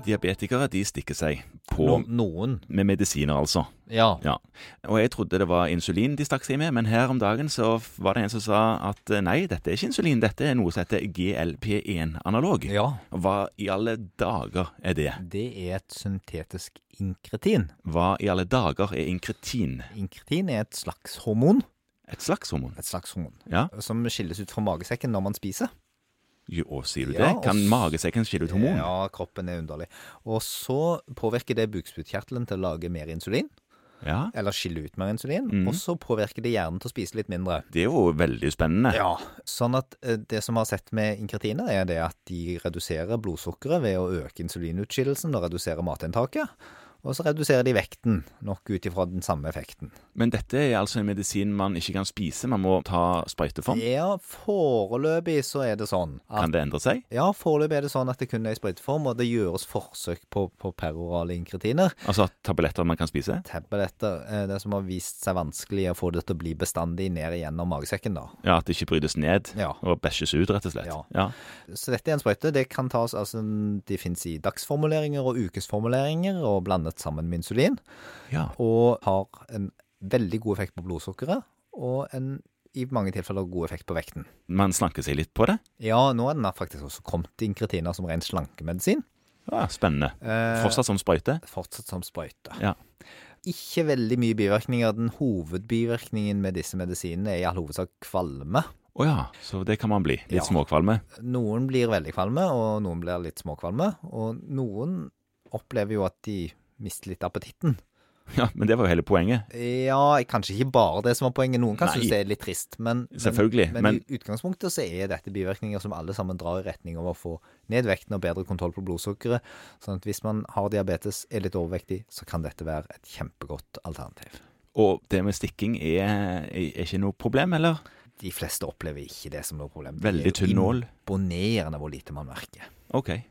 diabetikere de stikker seg på No, noen. med medisiner, altså. Ja. Ja. Og jeg trodde det var insulin de stakk seg med, men her om dagen så f- var det en som sa at eh, nei, dette er ikke insulin, dette er noe som heter GLP1-analog. ja. E Hva i alle dager er det? Det er et syntetisk inkretin. Hva i alle dager er inkretin? Inkretin er et slags hormon. Et slags hormon? Et slags hormon Ja. som skilles ut fra magesekken når man spiser. Jo, å, sier du Ja, det? og Kan s- magesekken skille ut hormon? Ja, kroppen er underlig. Og så påvirker det bukspyttkjertelen til å lage mer insulin. Ja. Eller skille ut mer insulin. Og så påvirker det hjernen til å spise litt mindre. Det er jo veldig spennende. Ja. Sånn at eh, det som vi har sett med inkretiner, er det at de reduserer blodsukkeret ved å øke insulinutskillelsen og redusere matinntaket. Og så reduserer de vekten, nok ut ifra den samme effekten. Men dette er altså en medisin man ikke kan spise, man må ta sprøyte for. Ja, foreløpig så er det sånn at Kan det endre seg? Ja, foreløpig er det sånn at det kun er i sprøyteform, og det gjøres forsøk på, på perorale inkretiner. Altså tabletter man kan spise? Tabletter, eh, det som har vist seg vanskelig å få det til å bli bestandig ned igjennom magesekken, da. Ja, At det ikke brytes ned Ja. og bæsjes ut, rett og slett? Ja. ja. Så dette er en sprøyte. Det kan tas, altså, de finnes i dagsformuleringer og ukesformuleringer og blandet sammen med insulin. ja. Og har en veldig god effekt på blodsukkeret, og en i mange tilfeller god effekt på vekten. Man slanker seg litt på det? Ja, nå er den faktisk også kommet inn kretiner som ren slankemedisin. Ja, Spennende. Eh, Fortsatt som sprøyte? Fortsatt som sprøyte. Ja. Ikke veldig mye bivirkninger. Den hovedbivirkningen med disse medisinene er i all hovedsak kvalme. Å ja, så det kan man bli. Litt Ja. småkvalme. Noen blir veldig kvalme, og noen blir litt småkvalme. Og noen opplever jo at de mister litt appetitten. Ja, Men det var jo hele poenget. Ja, kanskje ikke bare det som var poenget. Noen kan Nei. synes det er litt trist, men, men, Selvfølgelig. men i utgangspunktet så er dette bivirkninger som alle sammen drar i retning av å få ned vekten og bedre kontroll på blodsukkeret. Sånn at hvis man har diabetes, er litt overvektig, så kan dette være et kjempegodt alternativ. og det med stikking er, er ikke noe problem, eller? De fleste opplever ikke det som noe problem. Veldig Det er jo tynn nål. Imponerende hvor lite man merker. OK.